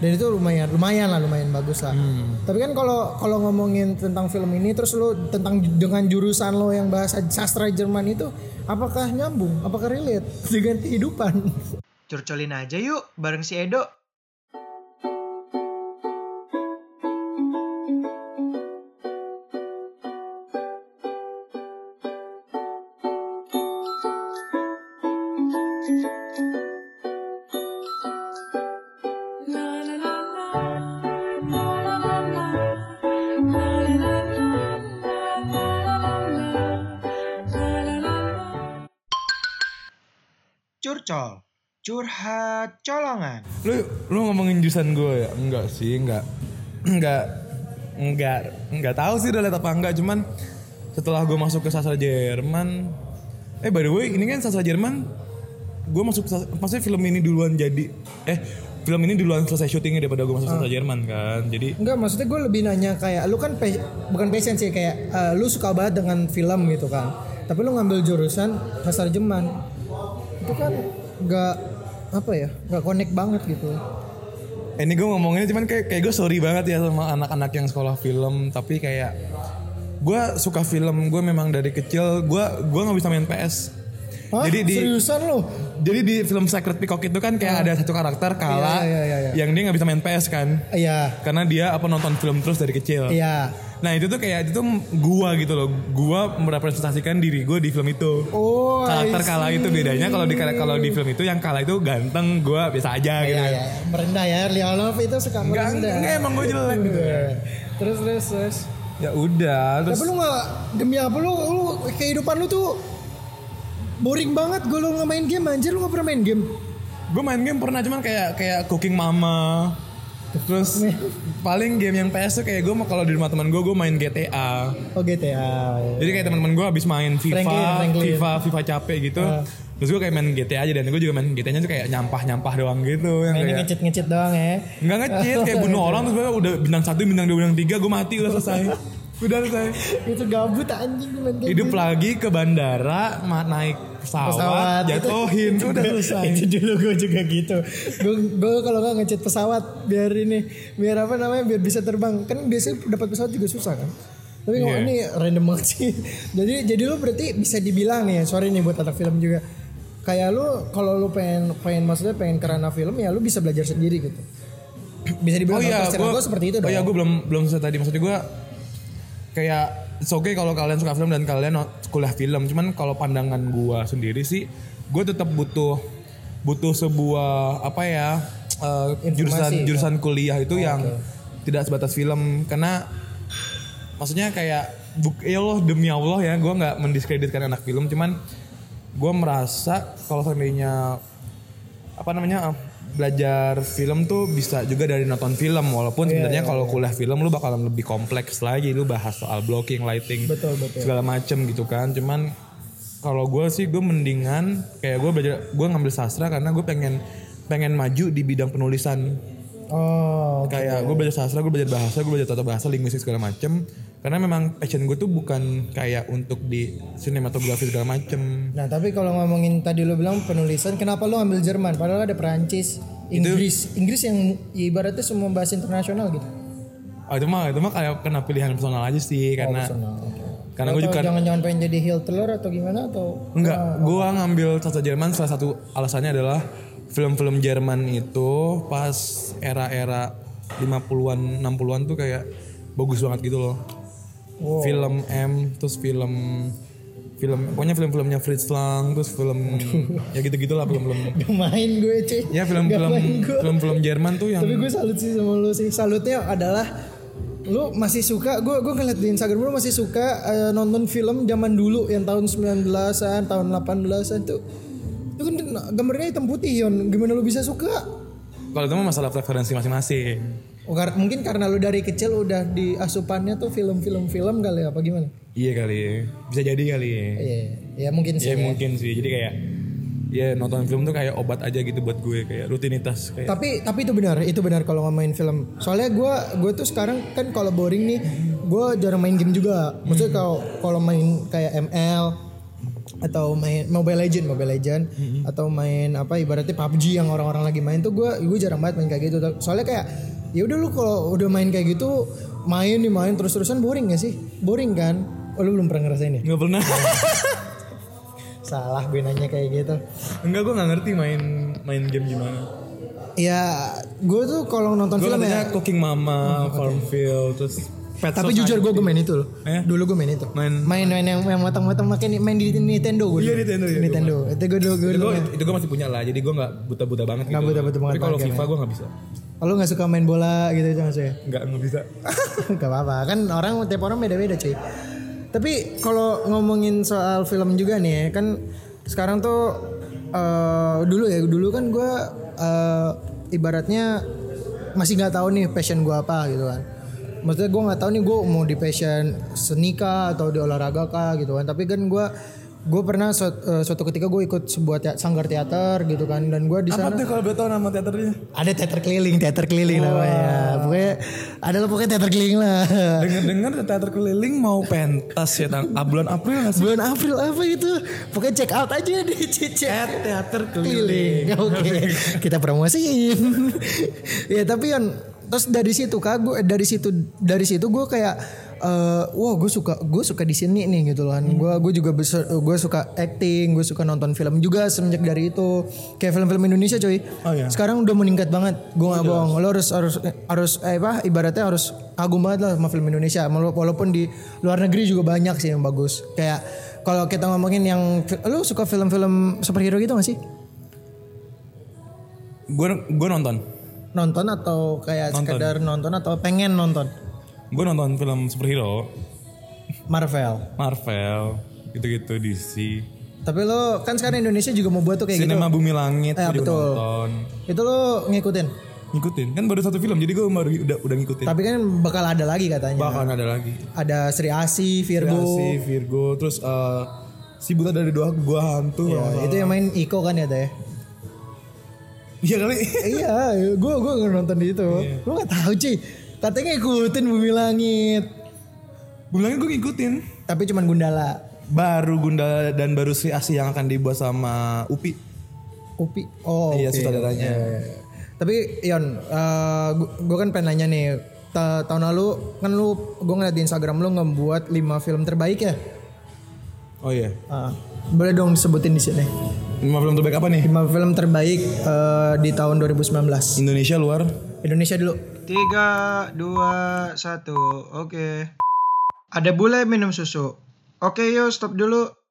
dan itu lumayan lumayan lah lumayan bagus lah tapi kan kalau kalau ngomongin tentang film ini terus lo tentang dengan jurusan lo yang bahasa sastra Jerman itu apakah nyambung apakah relate dengan kehidupan Curcolin aja yuk bareng si Edo. Curcol, curhat colongan. Lu lu ngomongin jurusan gue ya? Enggak sih, enggak. Enggak. Enggak. Enggak tahu sih relate apa enggak, cuman setelah gue masuk ke sastra Jerman Eh by the way, ini kan sastra Jerman gue masuk sastra- maksudnya film ini duluan jadi eh film ini duluan selesai syutingnya daripada gue masuk sastra Jerman kan. Jadi Enggak, maksudnya gue lebih nanya kayak lu kan pe- bukan passion sih kayak eh, lu suka banget dengan film gitu kan. Tapi lu ngambil jurusan sastra Jerman. Itu kan enggak apa ya? Enggak connect banget gitu. Eh, ini gue ngomongnya cuman kayak kayak gue sorry banget ya sama anak-anak yang sekolah film tapi kayak gue suka film gue memang dari kecil gue gue nggak bisa main PS Hah? jadi di seriusan lu? jadi di film Secret Peacock itu kan kayak ada satu karakter Ah. Iya, kala iya, iya, iya. yang dia nggak bisa main PS kan Iya. karena dia apa nonton film terus dari kecil Iya. nah itu tuh kayak itu tuh gua gitu loh gua merepresentasikan diri gue di film itu Oh, I karakter see. kala itu bedanya kalau di kalau di film itu yang kala itu ganteng gua biasa aja gitu Iya, iya. Merendah ya, Leonov itu suka Enggak, merendah. enggak, enggak, emang gue jelek gitu. Terus terus terus. ya udah Iya. terus Tapi lu nggak demi apa lu, lu kehidupan lu tuh boring banget gue lu nggak main game anjir lu nggak pernah main game gue main game pernah cuman kayak kayak cooking mama terus paling game yang PS tuh kayak gue kalau di rumah teman gue gue main GTA oh GTA jadi kayak teman-teman gue habis main FIFA Franklin, Franklin. Ah. FIFA FIFA capek gitu terus gue kayak main GTA aja dan gue juga main GTA-nya tuh kayak nyampah-nyampah doang gitu yang Ini kayak ngecit ngecit doang ya. nggak ngecit kayak bunuh orang terus gue udah bintang satu bintang dua bintang tiga gue mati udah selesai udah selesai Itu gabut anjing main game. hidup lagi ke bandara ma- naik pesawat, Pesawat, itu- jatuhin udah selesai itu dulu gue juga gitu. Gue gue kalau nggak ngecit pesawat biar ini biar apa namanya biar bisa terbang. Kan biasanya dapat pesawat juga susah kan. Tapi kalau Iya. ini random banget sih. Jadi jadi lu berarti bisa dibilang nih, sorry nih buat anak film juga. Kayak lu kalau lu pengen pengen maksudnya pengen kerana film ya lu bisa belajar sendiri gitu. Bisa dibilang Oh iya, gue seperti itu Oh dong. iya, gue belum belum selesai tadi. Maksudnya gue kayak it's okay kalau kalian suka film dan kalian not- kuliah film. Cuman kalau pandangan gue sendiri sih, gue tetap butuh butuh sebuah apa ya eh, jurusan Informasi, ya? Oh, jurusan kuliah itu yang tidak sebatas film karena maksudnya kayak buk ya Allah demi Allah ya gue nggak mendiskreditkan anak film cuman gue merasa kalau seandainya apa namanya eh, belajar film tuh bisa juga dari nonton film walaupun Iya, sebenarnya kalau kuliah film lu bakalan lebih kompleks lagi lu bahas soal blocking lighting Betul, betul. segala macem gitu kan cuman kalau gue sih gue mendingan kayak gue belajar gue ngambil sastra karena gue pengen pengen maju di bidang penulisan Oh, kayak gue belajar sastra gue belajar bahasa gue belajar tata bahasa linguistik segala macem karena memang passion gue tuh bukan kayak untuk di sinematografi segala macem Nah tapi kalau ngomongin tadi lo bilang penulisan, kenapa lo ambil Jerman? Padahal ada Perancis, Inggris, Inggris yang ibaratnya semua bahasa internasional gitu. oh, itu mah itu mah kayak kena pilihan personal aja sih karena karena gue Atau juga jangan-jangan pengen jadi Hitler atau gimana atau? enggak gue ngambil sastra Jerman salah satu alasannya adalah film-film Jerman itu pas era-era 50-an 60-an tuh kayak bagus banget gitu loh film M terus film film pokoknya film-filmnya Fritz Lang terus film ya gitu-gitulah film-film Gak main gue cuy. Ya film-film Gak main gue. film-film Jerman tuh yang Tapi gue salut sih sama lo sih. Salutnya adalah lo masih suka gue gue ngeliat di Instagram lo masih suka eh, nonton film zaman dulu yang tahun 19-an, tahun 18-an tuh. Itu kan gambarnya hitam putih Yon. Gimana lo bisa suka? kalau itu mah masalah preferensi masing-masing. Oh, kar- mungkin karena lu dari kecil udah di asupannya tuh film-film film kali ya, apa gimana? Iya kali, ya. bisa jadi kali. ya. Iya, ya mungkin sih. Ya mungkin sih. Jadi kayak ya nonton film tuh kayak obat aja gitu buat gue kayak rutinitas kayak. Tapi tapi itu benar, itu benar kalau ngomongin film. Soalnya gue gue tuh sekarang kan kalau boring nih, gue jarang main game juga. Maksudnya kalau kalau main kayak ML atau main Mobile Legend, Mobile Legend atau main apa ibaratnya PUBG yang orang-orang lagi main tuh gue gue jarang banget main kayak gitu. Soalnya kayak ya udah lu kalau udah main kayak gitu main nih main terus-terusan boring gak sih? Boring kan? Oh, lu belum pernah ngerasain ya? nggak pernah Salah gue nanya kayak gitu. enggak gue nggak ngerti main main game gimana Ya gue tuh kalau nonton gue film ya. Oh, katanya cooking mama farmville terus Pet Tapi Society. jujur gue gue main itu loh. Eh? Dulu gue main itu. Main- main main yang, yang matang-matang makin main di Nintendo gue. Iya, dulu. Nintendo, iya, gue Nintendo. Itu gue dulu gue itu dulu gue main. itu gue masih punya lah jadi gue nggak buta buta banget Nggak gitu buta-buta banget ya? tapi kalau banget, FIFA gue nggak bisa Kalau nggak suka main bola gitu itu maksudnya. nggak nggak bisa Gak apa-apa kan orang tiap orang beda-beda cuy. Tapi kalau ngomongin soal film juga nih ya, kan sekarang tuh eh, dulu ya dulu kan gue eh, ibaratnya masih nggak tahu nih passion gue apa gitu kan. Maksudnya gue nggak tahu nih gue mau di passion seni kah atau di olahraga kah gitu kan. Tapi kan gue gue pernah suat- eh, suatu ketika gue ikut sebuah tea- sanggar teater gitu kan dan gue di apa sana tuh kalau betul nama teaternya ada teater keliling teater keliling namanya pokoknya ada lah pokoknya teater keliling lah dengar dengar teater keliling mau pentas ya tang ah, bulan April nggak sih Bulan April apa itu? Pokoknya check out aja deh, check check. Eh, teater Keliling. Oke. Kita promosiin. ya tapi kan terus dari situ kak gue dari situ dari situ gue kayak eh wah gue suka gue suka di sini nih gitu loh kan gue gue juga besar gue suka acting gue suka nonton film juga semenjak dari itu kayak film-film Indonesia cuy Oh, iya. Oh, sekarang udah meningkat banget gue nggak bohong lo harus harus harus eh, apa ibaratnya harus kagum banget lah sama film Indonesia Mal- walaupun di luar negeri juga banyak sih yang bagus kayak kalau kita ngomongin yang lo suka film-film superhero gitu gak sih gue gue nonton nonton atau kayak sekedar nonton atau pengen nonton gue nonton film superhero Marvel Marvel gitu-gitu DC tapi lo kan sekarang Indonesia juga mau buat tuh kayak Iya, gitu Cinema Bumi Langit Eh, gua juga betul. nonton itu lo ngikutin ngikutin kan baru satu film jadi gue baru udah udah ngikutin tapi kan bakal ada lagi katanya bahkan ada lagi ada Sri Asi Virgo si Virgo terus eh, si buta dari dua gua hantu Ya, kalau nggak itu yang main Iko kan ya teh salah. iya kali iya, gue gue nonton di itu. Lu nggak tahu cuy. Katanya ngikutin Bumi Langit, Bumi Langit gue ngikutin tapi cuman Gundala. baru Gunda dan baru si Asi yang akan dibuat sama Upi Upi. Oh, iya oke. iya. sutradaranya Tapi Yon, gue kan pengen nanya nih. Ta- tahun lalu kan lu gue ngeliat di Instagram lu ngebuat 5 film terbaik ya. oh iya Ah, boleh dong disebutin di sini. lima film terbaik apa nih 5 film terbaik eh, di tahun 2019. Indonesia luar Indonesia dulu. Tiga, dua, satu. Oke. Ada bule minum susu. Oke, yuk stop dulu.